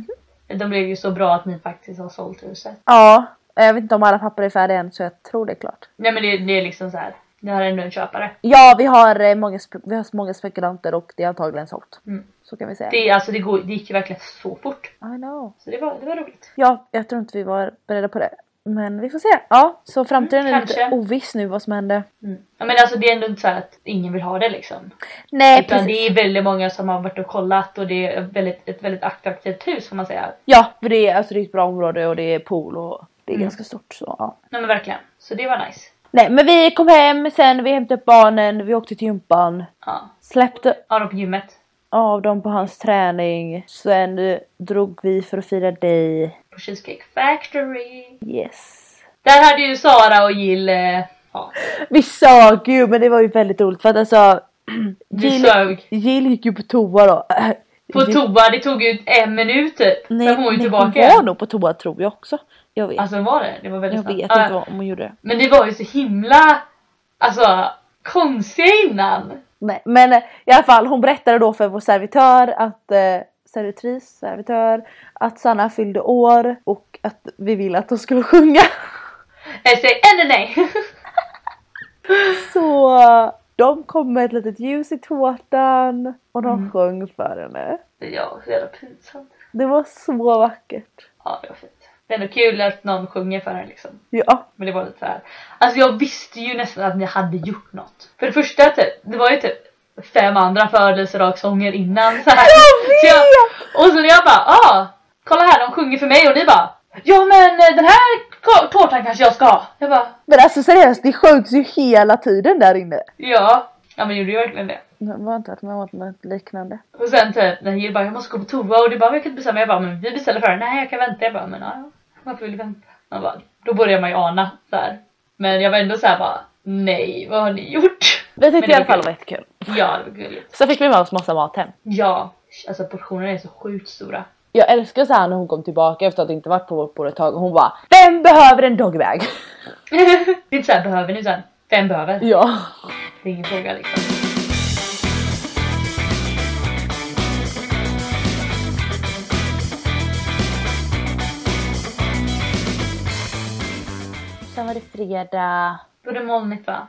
De blev ju så bra att ni faktiskt har sålt huset.
Ja, jag vet inte om alla papper är färdiga än så jag tror det är klart.
Nej men det, det är liksom så här. ni har ändå en köpare.
Ja, vi har, eh, många, spe- vi har många spekulanter och det är antagligen sålt.
Mm.
Så kan vi säga.
Det, är- alltså, det, går, det gick ju verkligen så fort.
I know.
Så det var, det var roligt.
Ja, jag tror inte vi var beredda på det. Men vi får se. Ja, så framtiden
Mm,
är lite
kanske.
oviss nu vad som händer.
Mm. Ja, men alltså det är ändå inte så här att ingen vill ha det liksom.
Nej,
Utan
precis.
det är väldigt många som har varit och kollat och det är väldigt, ett väldigt attraktivt hus får man säga.
Ja, för det är, alltså, det är ett bra område och det är pool och det är
Mm.
ganska stort. Så, ja.
Nej men verkligen. Så det var nice.
Nej, men vi kom hem sen, vi hämtade upp barnen, vi åkte till gympan.
Ja.
Släppte
Ja, då på gymmet.
av dem på hans träning. Sen eh, drog vi för att fira dig.
På Cheesecake Factory.
Yes.
Där hade ju Sara och Jill... eh, Ja,
Vi sög ju men det var ju väldigt roligt för att alltså
vi
Jill,
sög.
Jill gick ju på toa då.
På toa, det tog ju en minut typ.
Nej,
Sen var hon ju
nej,
tillbaka.
hon var nog på toa tror jag också. Jag vet,
Alltså var det? Det var väldigt
jag vet
Ja,
inte vad, om hon gjorde det.
Men det var ju så himla... Alltså, konstiga innan.
Nej, men eh, i alla fall hon berättade då för vår servitör att eh, servitris, servitör att Sanna fyllde år och att vi ville att hon skulle sjunga.
Jag säger "Äh, nej, nej, nej.
Så eh, de kom med ett litet ljus i tårtan och de sjöng för henne.
Ja, så jävla pinsamt.
Det var så vackert.
Ja, det var fint. Det är ändå kul att någon sjunger för henne liksom.
Ja,
Men det var lite såhär. Alltså jag visste ju nästan att ni hade gjort något. För det första typ, det var ju typ fem andra födelsedagssånger innan så här. Så jag, och så när jag bara ah, kolla här de sjunger för mig och ni bara ja men eh, den här ko- tårtan kanske jag ska ha. Jag bara
men alltså seriöst det sjöngs ju hela tiden där inne.
ja. Ja men gjorde ju verkligen det.
Det var inte att man åt något liknande.
Och sen typ när Jill bara jag måste gå på toa och du bara "Men jag kan inte bestämma. Jag bara men vi beställer för den. Nej jag kan vänta. Jag bara men ja, ja varför vill du vänta? Man bara, då börjar man ju ana där. Men jag var ändå såhär bara nej vad har ni gjort?
Vi
Men
tyckte
det
i alla
var
fall
kul.
det var jättekul.
Ja det var gulligt.
Så fick vi med oss massa mat hem.
Ja, alltså portionerna är så sjukt stora.
Jag älskar så här när hon kom tillbaka efter att inte varit på vårt bord ett tag och hon bara Vem behöver en dogbag?
det är såhär, behöver ni sen? Vem behöver?
Ja.
Det är ingen fråga liksom.
Sen var det fredag.
Då är det molnigt va?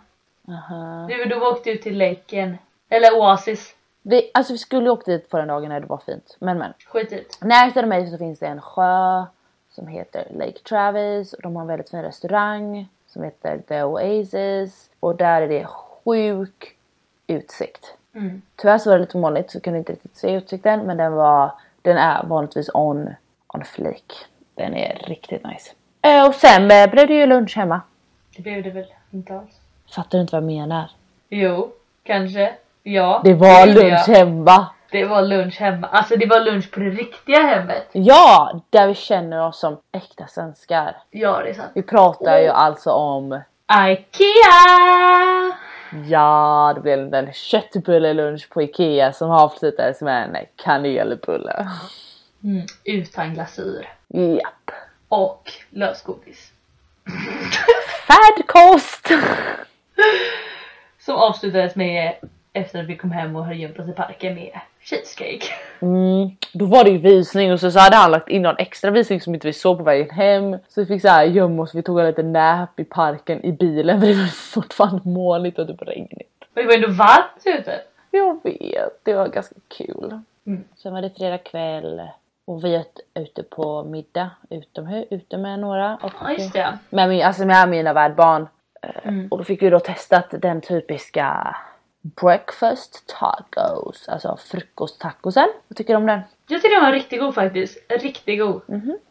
Aha.
Du, då åkte du till laken. Eller Oasis.
Vi, alltså vi skulle ju åkt dit på den dagen när det var fint. Men men.
Skit i det.
Närmare mig så finns det en sjö som heter Lake Travis och de har en väldigt fin restaurang som heter The Oasis och där är det sjuk utsikt.
Mm.
Tyvärr så var det lite molnigt så kunde inte riktigt se utsikten men den var, den är vanligtvis on, on flake. Den är riktigt nice. Eh, Och sen eh, blev det ju lunch hemma.
Det blev det väl inte alls?
Fattar du inte vad jag menar?
Jo, kanske. Ja.
Det var
gjorde
lunch
jag.
hemma!
Det var lunch hemma. Alltså det var lunch på det riktiga hemmet.
Ja! Där vi känner oss som äkta svenskar.
Ja, det är sant.
Vi pratar
Mm.
ju alltså om
IKEA!
Ja, det blev en köttbullelunch på Ikea som avslutades med en kanelbulle.
Mm. Utan glasyr.
Japp.
Och lösgodis.
Färdkost!
Som avslutades med efter att vi kom hem och hade gömt oss i parken med cheesecake.
Mm, då var det ju visning och så, så hade han lagt in någon extra visning som inte vi såg på vägen hem. Så vi fick så här gömma oss, vi tog en liten nap i parken i bilen för det var fortfarande molnigt och typ regnigt.
Och det var ändå varmt ute.
Jag vet, det var ganska kul.
Mm.
Sen var det fredag kväll och vi åt ute på middag utomhus, ute med några. Och
Ja just det.
med, min, alltså med mina värdbarn. Eh,
Mm.
Och då fick vi då testat den typiska breakfast tacos, alltså frukosttacosen. Vad tycker du om den?
Jag tyckte den var riktigt god faktiskt. Riktigt god.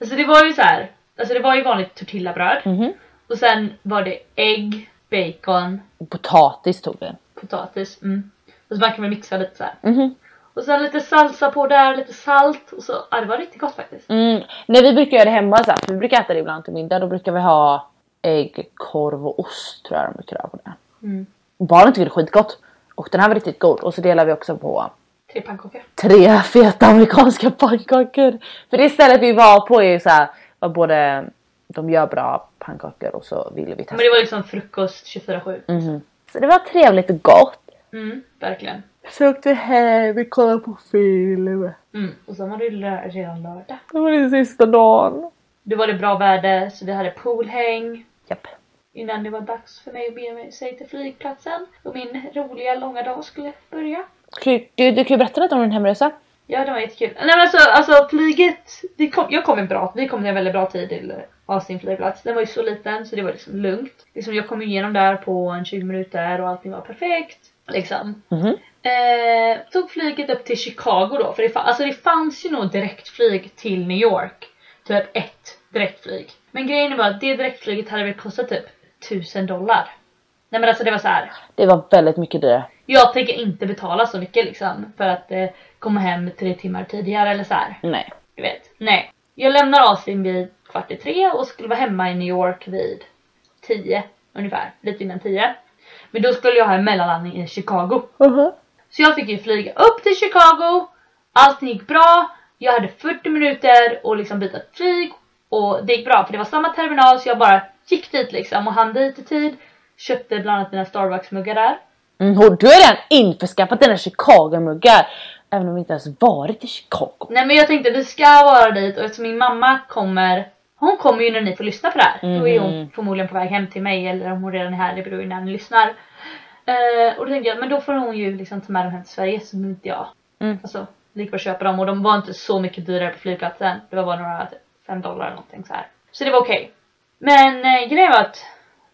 Alltså det var ju så här. Alltså det var ju vanligt tortillabröd.
Mhm.
Och sen var det ägg, bacon,
Potatis tog vi.
potatis. Mm. Och så man kan väl mixa lite så här.
Mhm.
Och sen lite salsa på där, lite salt. Och så, ja det var riktigt gott faktiskt.
Mm. Nej vi brukar göra det hemma så här, för vi brukar äta det ibland till middag. Då brukar vi ha ägg, korv och ost tror jag de brukar ha på det.
Mm.
Barnen tycker det är skitgott. Och den här var riktigt god. Och så delar vi också på
Tre pannkakor.
tre feta amerikanska pannkakor. För det stället vi var på är ju så här, var både de gör bra pannkakor och så ville vi testa.
Men det var liksom frukost 24-7.
Mhm. Så det var trevligt och gott.
Mm, verkligen.
Så åkte vi hem, vi kollade på film.
Mm. Och sen var det ju lö- redan lördag.
Det var den sista dagen.
Det var det bra väder så vi hade poolhäng.
Japp.
Innan det var dags för mig att bege mig sig till flygplatsen och min roliga långa dag skulle börja.
Du, du, du kan ju berätta lite om din hemresa.
Ja, det var jättekul. Nej men alltså, alltså flyget, vi kom, jag kom en bra, vi kom en väldigt bra tid till Asien flygplats. Den var ju så liten så det var liksom lugnt. Liksom, jag kom igenom där på en 20 minuter och allting var perfekt. Liksom.
Mhm.
Eh, tog flyget upp till Chicago då, för det, fa- alltså, det fanns ju nog direktflyg till New York. Typ ett direktflyg. Men grejen var att det direktflyget hade väl kostat typ 1000 dollar. Nej men alltså det var så här.
Det var väldigt mycket dyrare.
Jag tänker inte betala så mycket liksom för att eh, komma hem tre timmar tidigare eller så här.
Nej.
Du vet, nej. Jag lämnar Asien vid kvart i tre och skulle vara hemma i New York vid tio ungefär. Lite innan tio. Men då skulle jag ha en mellanlandning i Chicago.
uh
Så jag fick ju flyga upp till Chicago. Allting gick bra. Jag hade 40 minuter och liksom byta flyg. Och det gick bra för det var samma terminal så jag bara gick dit liksom och hann dit i tid. Köpte bland annat mina Starbucks-muggar där.
Mm, och du har redan införskaffat dina Chicago-muggar. Även om vi inte ens varit i Chicago.
Nej men jag tänkte vi ska vara dit och eftersom min mamma kommer Hon kommer ju när ni får lyssna på det här. Då är hon
Mhm.
förmodligen på väg hem till mig eller om hon redan är här, det beror ju när ni lyssnar. Eh, och då tänkte jag men då får hon ju liksom ta med dem hem till Sverige så behöver inte jag.
Mm.
Alltså lika bra köpa dem och de var inte så mycket dyrare på flygplatsen. Det var bara några typ, fem dollar eller någonting så här. Så det var okej. Men eh, grejen var att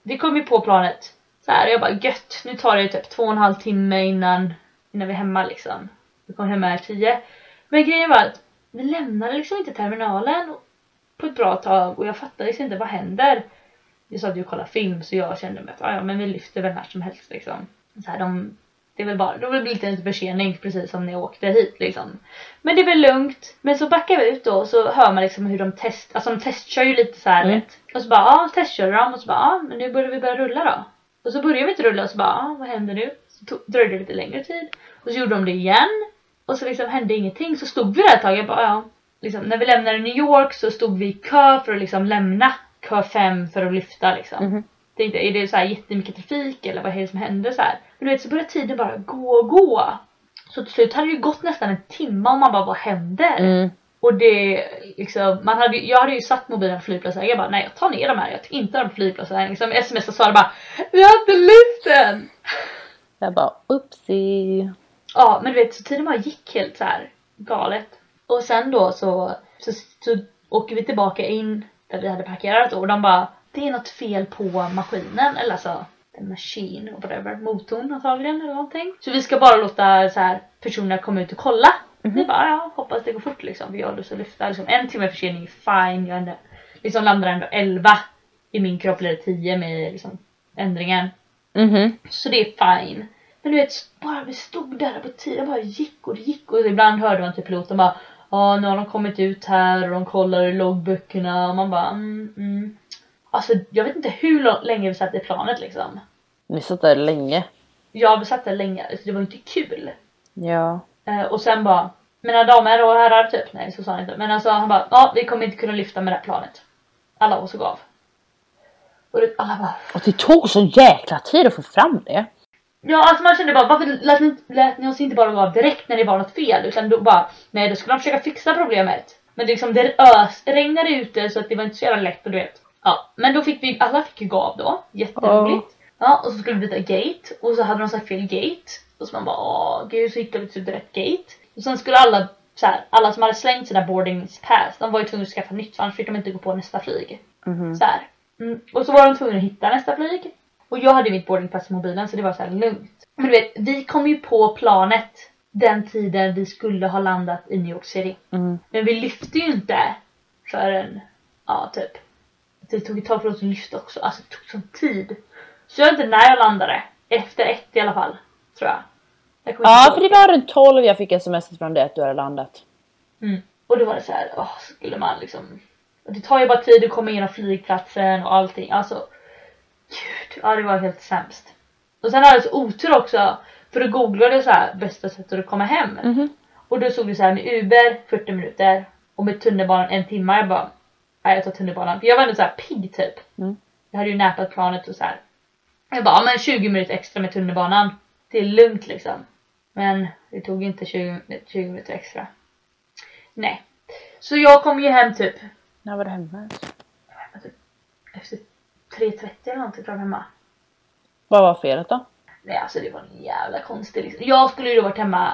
vi kom ju på planet så här, jag bara gött, nu tar det ju typ två och en halv timme innan, innan vi är hemma liksom. Vi kom hem här tio. Men grejen var att vi lämnade liksom inte terminalen på ett bra tag och jag fattade liksom inte vad händer. Jag sa att jag kollade film så jag kände mig att "Ah, ja men vi lyfter väl när som helst liksom. Så här, de, det är väl bara, det blir lite försening precis som när jag åkte hit liksom. Men det är väl lugnt. Men så backar vi ut då och så hör man liksom hur de test, alltså de testkör ju lite så här
Mm.
vet. Och så bara ja, testkör de och så bara ja, men nu borde vi börja rulla då. Och så började vi inte rulla och så bara ja, vad händer nu? Så tog, dröjde det lite längre tid. Och så gjorde de det igen. Och så liksom hände ingenting. Så stod vi där ett tag. Jag bara, ja. liksom, när vi lämnade New York så stod vi i kö för att liksom lämna. Kö 5 för att lyfta liksom.
Mhm.
Tänkte, är det så här jättemycket trafik eller vad är det som hände så här? Men du vet så började tiden bara gå och gå. Så till slut hade det ju gått nästan en timme och man bara, vad händer?
Mm.
Och det liksom, man hade, ju- jag hade ju satt mobilen på flygplatsen. Jag bara, nej jag tar ner dem här. Jag tar inte dem på flygplatsen. Liksom, smsade Sara bara, vi har inte lyft den!
Jag bara oopsie.
Ja, men du vet, så tiden bara gick helt så här galet. Och sen då så, så, så åker vi tillbaka in där vi hade parkerat och de bara Det är något fel på maskinen, eller alltså the machine och whatever, motorn antagligen eller någonting. Så vi ska bara låta så här personerna komma ut och kolla. Vi bara ja, hoppas det går fort liksom, vi har lust att lyfta. Liksom, en timme försening är fine, jag ändå, liksom landar ändå 11 i min kropp, eller 10 med liksom, ändringen.
Mhm.
Så det är fine. Men du vet, bara vi stod där på tiden bara gick och det gick och ibland hörde man till piloten bara Ja, nu har de kommit ut här och de kollar i loggböckerna och man bara mm, mm. Alltså jag vet inte hur lång- länge vi satt i planet liksom.
Ni satt där länge.
Jag satt där länge, så det var inte kul.
Ja.
Eh, och sen bara Mina damer och herrar typ, nej så sa han inte. Men alltså han bara ja, vi kommer inte kunna lyfta med det här planet. Alla var så gav. Och det, alla bara
Och det tog så jäkla tid att få fram det.
Ja, alltså man kände bara varför lät ni, lät ni oss inte bara gå av direkt när det var något fel? Utan då bara, nej då skulle de försöka fixa problemet. Men det liksom det ös, regnade ute så att det var inte så jävla lätt och du vet. Ja, men då fick vi, alla fick ju gå av då. Jätteroligt. Ja, och så skulle vi byta gate och så hade de sagt fel gate. Och så man bara, åh gud så hittade vi typ rätt gate. Och sen skulle alla, så här, alla som hade slängt sina boarding pass, de var ju tvungna att skaffa nytt för annars fick de inte gå på nästa flyg.
Mhm.
Så här. Mm. Och så var de tvungna att hitta nästa flyg. Och jag hade mitt boardingpass i mobilen så det var så här lugnt. Men du vet, vi kom ju på planet den tiden vi skulle ha landat i New York City.
Mm.
Men vi lyfte ju inte förrän, ja typ. Det tog ett tag för oss att lyfta också, alltså det tog sån tid. Så jag vet inte när jag landade. Efter ett i alla fall, tror jag. jag kommer
Ja,
inte
för
ihåg.
det var runt 12 jag fick sms från dig att du hade landat.
Mm. Och då var det så här, åh, skulle man liksom... och Det tar ju bara tid att komma igenom flygplatsen och allting. Alltså, gud, ja det var helt sämst. Och sen hade jag så otur också, för då googlade jag så här, bästa sättet att komma hem. Och då såg vi så här med Uber 40 minuter och med tunnelbanan en timme. Jag bara, nej jag tar tunnelbanan. För jag var ändå såhär pigg typ.
Mm.
Jag hade ju näpat planet och så här. Jag bara, ja, men 20 minuter extra med tunnelbanan. Det är lugnt liksom. Men det tog ju inte 20, 20 minuter extra. Nej. Så jag kom ju hem typ
När var du hemma?
efter 3.30 eller någonting tror jag hemma.
Vad var felet då?
Nej alltså det var en jävla konstig liksom. Jag skulle ju då varit hemma,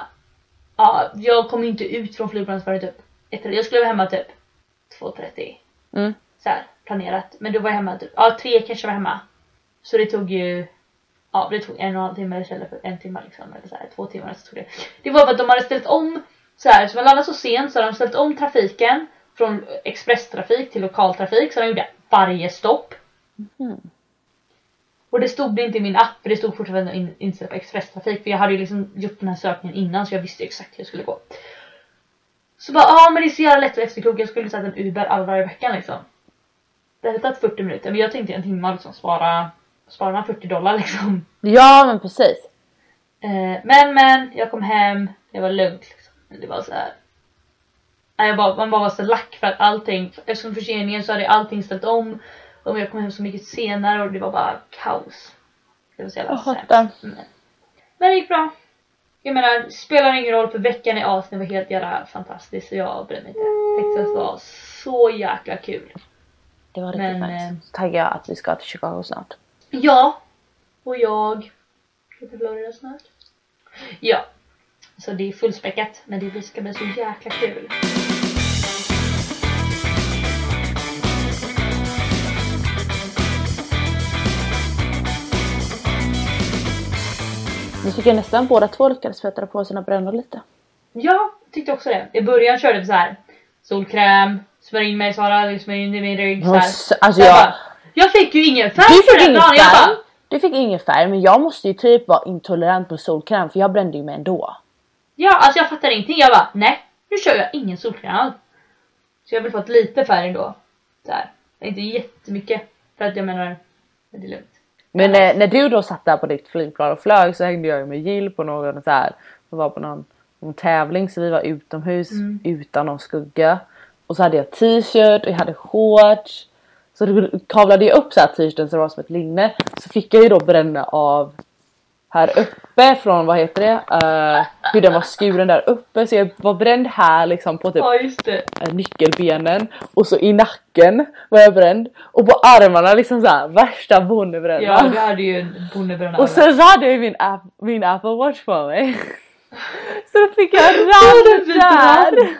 ja jag kom ju inte ut från flygplanet förrän typ 1.30. Jag skulle vara hemma typ 2.30.
Mm.
så här, planerat. Men då var jag hemma typ, ja tre kanske var hemma. Så det tog ju, ja det tog en och en halv timme istället för en timme liksom. Eller så här, två timmar så tog det. Det var för att de hade ställt om, så här, så man landade så sent så hade de ställt om trafiken från expresstrafik till lokaltrafik. Så de gjorde varje stopp.
Mhm.
Och det stod det inte i min app, för det stod fortfarande in, inställt på expresstrafik. För jag hade ju liksom gjort den här sökningen innan så jag visste ju exakt hur jag skulle gå. Så bara, ja ah, men det är så jävla lätt att vara efterklok. Jag skulle sätta en Uber all varje veckan liksom. Det hade tagit 40 minuter, men jag tänkte en timme och liksom spara, spara de här 40 dollar liksom.
Ja men precis.
Eh, men men, jag kom hem, det var lugnt liksom. Men det var så här. Nej, jag bara, man bara var så lack för att allting, eftersom förseningen så hade allting ställt om. Och jag kom hem så mycket senare och det var bara kaos. Det var så jävla
Jag fattar.
Men, men det gick bra. Jag menar, spelar ingen roll för veckan i Asien var helt jävla fantastisk så jag bryr mig inte. Texas var så jäkla kul.
Det var riktigt
Men, eh,
nice. Så taggar jag att vi ska till Chicago snart.
Ja. Och jag ska till Florida snart. Ja. Så det är fullspäckat. Men det ska bli så jäkla kul.
Vi tycker nästan båda två lyckades föttra på sina brännor lite.
Ja, tyckte också det. I början körde vi så här. Solkräm, smörj in mig Sara, smörj in i min rygg. Så här.
Alltså, alltså
Jag,
jag,
bara, jag fick ju ingen färg
du
på
fick
den
ingen
dagen. Jag
färg.
bara,
Du fick ingen färg men jag måste ju typ vara intolerant på solkräm för jag brände ju mig ändå.
ja, alltså jag fattar ingenting. Jag bara, nej, nu kör jag ingen solkräm alls. Så jag har väl fått lite färg ändå. Så här. Inte jättemycket. För att jag menar, men det är lugnt.
Men eh, när du då satt där på ditt flygplan och flög så hängde jag ju med Jill på någon så här. Vi var på någon, någon tävling så vi var utomhus
Mm.
utan någon skugga. Och så hade jag t-shirt och jag hade shorts. Så det kavlade jag upp så här t-shirten så det var som ett linne. Så fick jag ju då bränna av här uppe från vad heter det? Eh, hur den var skuren där uppe. Så jag var bränd här liksom på typ
Ja, just det.
eh, nyckelbenen och så i nacken var jag bränd och på armarna liksom så här värsta bonnebrännan.
Ja, vi hade ju en bondebränna.
Och sen så hade jag ju min, app, min Apple Watch på mig. Så då fick jag rand
fick
där!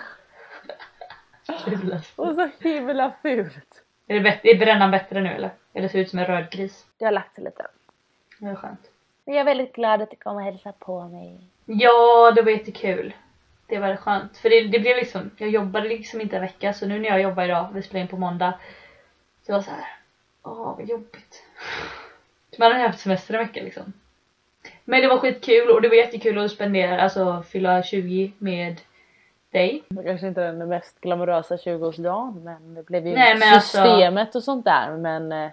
Jävla-
Och så himla fult.
Är, det bättre, är brännan bättre nu eller? Eller ser ut som en röd gris?
Det har lagt sig lite.
Det var skönt.
Men jag är väldigt glad att du kom och hälsade på mig.
Ja, det var jättekul. Det var skönt. För det, det blev liksom, jag jobbade liksom inte en vecka så nu när jag jobbar idag, vi spelar in på måndag. Det var så här. åh vad jobbigt. Man hade haft semester en vecka liksom. Men det var skitkul och det var jättekul att spendera, alltså fylla 20 med dig.
Det var kanske inte den mest glamorösa 20-årsdagen men det blev ju
Nej, men alltså-
systemet och sånt där men eh,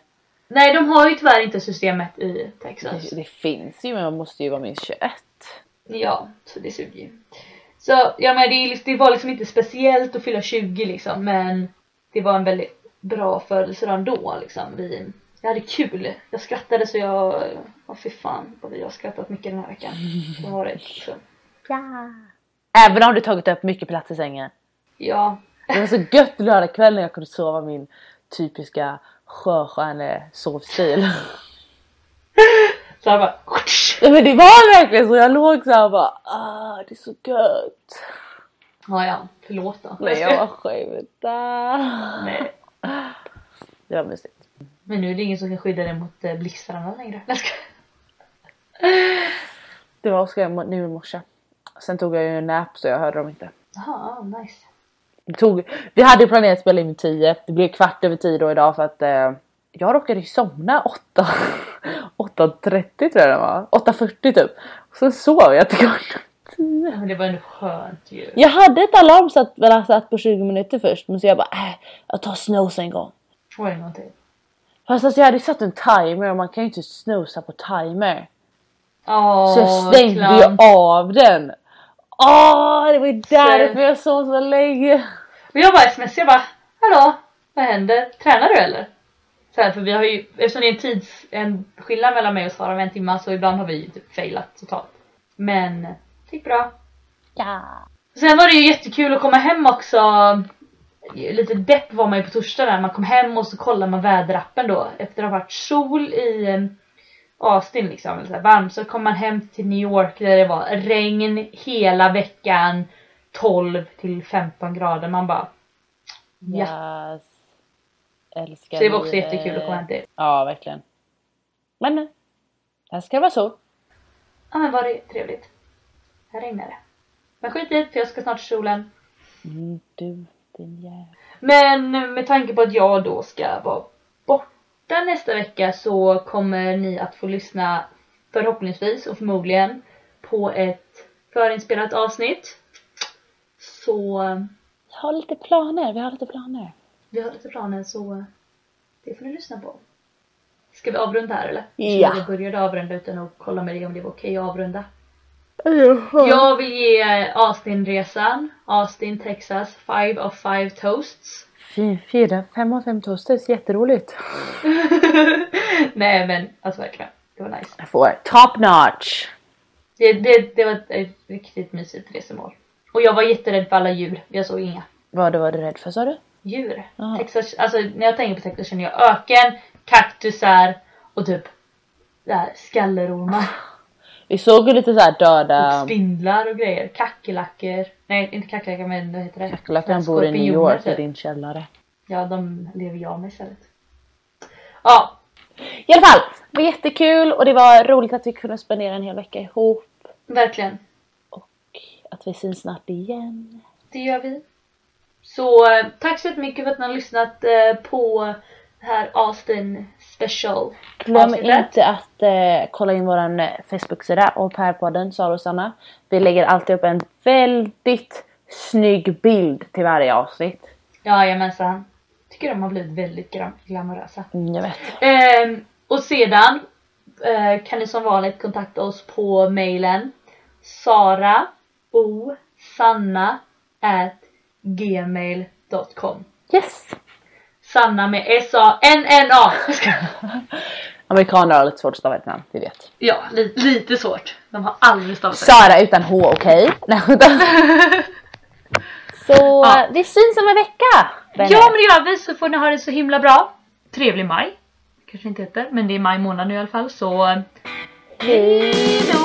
Nej, de har ju tyvärr inte systemet i Texas.
det, det finns ju men man måste ju vara minst 21.
Ja, så det suger ju. Så ja, men det, är liksom- det var liksom inte speciellt att fylla 20 liksom, men det var en väldigt bra födelsedag ändå liksom. Vi, jag hade kul. Jag skrattade så jag, ja fy fan vad vi har skrattat mycket den här veckan. Det har varit liksom,
Ja. Även om du tagit upp mycket plats i sängen.
ja.
Det var så gött lördagkväll när jag kunde sova min typiska sjöstjärnesovstil.
Så jag bara, "Kutsch!"
Ja men det var verkligen så, jag låg såhär och bara ah det är så gött.
ja ja, förlåt då.
Men jag bara skämtar.
Nej.
Det var mysigt.
Men nu är det ingen som kan skydda dig mot eh, blixtarna längre. Jag ska-
Det var Oskar mo- nu i morse. Sen tog jag ju en nap så jag hörde dem inte.
Jaha, nice.
Det tog, vi hade ju planerat att spela in vid 10, det blev kvart över 10 då idag för att eh, jag råkade ju somna 8. 8.30 tror jag det var. 8.40 typ. Och sen sov jag till klockan 10.
Ja, Men det var ändå skönt ju.
Jag hade ett alarm satt, väl satt på 20 minuter först men så jag bara äh, jag tar snooze en gång.
Oj, någonting.
Fast alltså jag hade ju satt en timer och man kan ju inte snooza på timer.
Åh,
Så jag stängde ju
klant.
av den. Ah, Åh det var ju därför jag sov så länge.
Och jag bara smsade, jag bara Hallå? Vad händer? Tränar du eller? Så här, för vi har ju, eftersom det är en tids, en skillnad mellan mig och Sara med en timma så ibland har vi ju typ failat totalt. Men det gick bra.
Ja.
Sen var det ju jättekul att komma hem också. Lite depp var man ju på torsdag där. Man kom hem och så kollade man väderappen då. Efter att ha varit sol i eh, Austin liksom, eller så här varmt, så kom man hem till New York där det var regn hela veckan. 12 till 15 grader. Man bara... Ja.
Yes. Älskar
Så det var också
livet.
jättekul att komma hem till.
Ja, verkligen. Men nej. Här ska det vara så.
Ja men var det trevligt. Här regnar det. Men skit i det, för jag ska snart till solen.
Mm, du, din jävel.
Men med tanke på att jag då ska vara borta nästa vecka så kommer ni att få lyssna förhoppningsvis och förmodligen på ett förinspelat avsnitt. Så eh,
Vi har lite planer, vi har lite planer.
vi har lite planer så eh, det får ni lyssna på. Ska vi avrunda här eller?
Ja.
Jag började avrunda utan att kolla med dig om det var okej att avrunda.
Ja.
Jag vill ge eh, Austin-resan, Austin, Texas, five of five toasts.
Fy, fyra, fem av fem toasters, jätteroligt.
Nej men alltså verkligen, det var nice.
Jag får top notch.
Det, det, det var ett, ett riktigt mysigt resemål. Och jag var jätterädd för alla djur. Jag såg inga
Vad var du rädd för sa du?
djur.
Jaha.
Texas, alltså när jag tänker på Texas känner jag öken, kaktusar och typ det här, skallerormar
Vi såg ju lite såhär
och
döda
spindlar och grejer. Kackerlackor. Nej inte kackerlackor men vad heter det?
kackerlackor som bor i New
Skorpioner,
York i
typ.
din källare.
Ja de lever jag med istället. Ja,
I alla fall, det var jättekul och det var roligt att vi kunde spendera en hel vecka ihop.
verkligen.
Att vi syns snart igen.
Det gör vi. Så eh, tack så jättemycket för att ni har lyssnat eh, på det här Austin special.
Glöm
avsnittet.
inte att eh, kolla in våran eh, Facebook-sida och Pärpodden, Sara och Sanna. Vi lägger alltid upp en väldigt snygg bild till varje avsnitt.
Jajamensan. Tycker de har blivit väldigt gram- glamorösa.
Mm, jag vet.
Ehm, och sedan eh, kan ni som vanligt kontakta oss på mailen sara o sanna at gmail.com
Yes!
Sanna med S-A-N-N-A. Jag skojar.
Amerikaner har lite svårt att stava ett namn, vi vet.
Ja, li- lite svårt. De har aldrig stavat det.
Sara utan H, okej? Nej, vänta. Så eh,
Ja.
vi syns om en vecka! vänner.
Ja, men det gör vi så får ni ha det så himla bra. eh. Trevlig maj. Kanske inte heter, men det är maj månad nu i alla fall så
Hej.
hejdå!